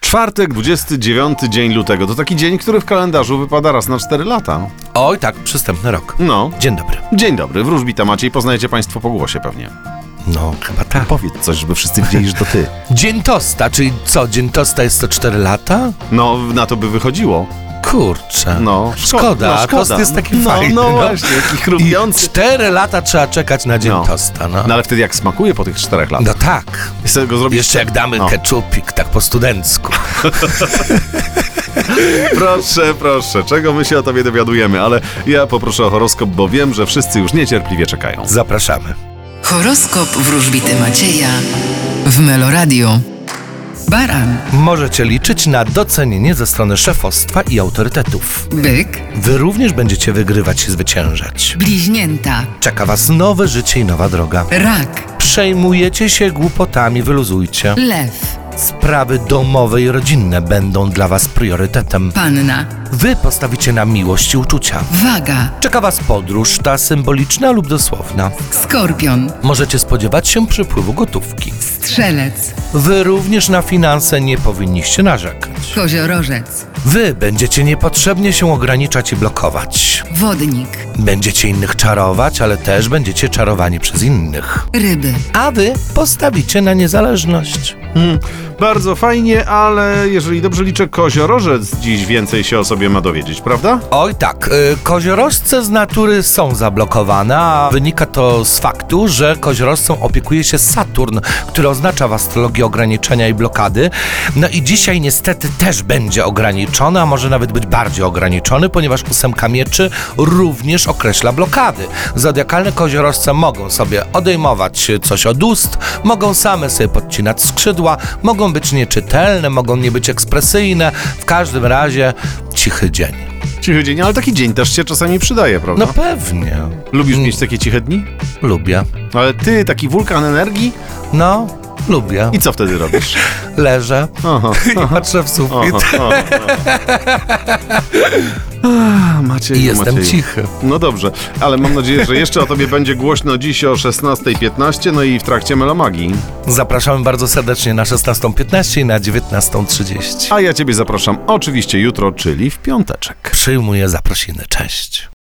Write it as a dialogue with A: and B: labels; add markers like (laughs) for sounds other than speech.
A: Czwartek, 29 dzień lutego. To taki dzień, który w kalendarzu wypada raz na 4 lata.
B: Oj, tak, przystępny rok.
A: No.
B: Dzień dobry.
A: Dzień dobry, wróżbita Maciej, poznajecie państwo po głosie pewnie.
B: No, chyba tak.
A: Powiedz coś, żeby wszyscy wiedzieli, że to ty.
B: Dzień tosta, czyli co, dzień tosta jest to 4 lata?
A: (laughs) No, na to by wychodziło.
B: Kurczę.
A: No, szko-
B: Szkoda,
A: no,
B: a tost jest taki
A: no,
B: fajny.
A: No właśnie, taki
B: I
A: chrupiący.
B: 4 lata trzeba czekać na dzień
A: No.
B: tosta, no.
A: No ale wtedy jak smakuje po tych 4 latach?
B: No tak.
A: Chcę go zrobić
B: Jeszcze jak damy
A: No.
B: keczupik, tak po studencku. (laughs)
A: Proszę, proszę, czego my się o tobie dowiadujemy, ale ja poproszę o horoskop, bo wiem, że wszyscy już niecierpliwie czekają.
B: Zapraszamy.
C: Horoskop wróżbity Macieja w Meloradio. Baran,
B: Możecie liczyć na docenienie ze strony szefostwa i autorytetów.
C: byk,
B: Wy również będziecie wygrywać i zwyciężać.
C: bliźnięta,
B: Czeka was nowe życie i nowa droga.
C: rak,
B: Przejmujecie się głupotami, wyluzujcie.
C: lew,
B: Sprawy domowe i rodzinne będą dla Was priorytetem.
C: panna,
B: Wy postawicie na miłość i uczucia.
C: waga,
B: Czeka Was podróż, ta symboliczna lub dosłowna.
C: skorpion,
B: Możecie spodziewać się przypływu gotówki.
C: strzelec,
B: Wy również na finanse nie powinniście narzekać.
C: koziorożec,
B: Wy będziecie niepotrzebnie się ograniczać i blokować.
C: wodnik,
B: Będziecie innych czarować, ale też będziecie czarowani przez innych.
C: ryby.
B: A Wy postawicie na niezależność.
A: Hmm, bardzo fajnie, ale jeżeli dobrze liczę, koziorożec dziś więcej się o sobie ma dowiedzieć, prawda?
B: Oj tak, y, koziorożce z natury są zablokowane, a wynika to z faktu, że koziorożcą opiekuje się Saturn, który oznacza w astrologii ograniczenia i blokady. No i dzisiaj niestety też będzie ograniczony, a może nawet być bardziej ograniczony, ponieważ ósemka mieczy również określa blokady. Zodiakalne koziorożce mogą sobie odejmować coś od ust, mogą same sobie podcinać skrzydła, mogą być nieczytelne, mogą nie być ekspresyjne. W każdym razie cichy dzień.
A: Cichy dzień, ale taki dzień też się czasami przydaje, prawda?
B: No Mm. pewnie.
A: Lubisz mieć takie ciche dni?
B: Lubię.
A: Ale ty, taki wulkan energii?
B: No, lubię.
A: I co wtedy robisz?
B: Leżę
A: Aha,
B: (laughs) i patrzę w sufit.
A: aha, aha. Ah, Macieju,
B: I jestem
A: Macieju.
B: cichy.
A: No dobrze, ale mam nadzieję, że jeszcze o tobie (laughs) będzie głośno dziś o 16.15, no i w trakcie Melomagii.
B: Zapraszamy bardzo serdecznie na 16.15 i na 19.30.
A: A ja ciebie zapraszam oczywiście jutro, czyli w piąteczek.
B: Przyjmuję zaprosiny. Cześć.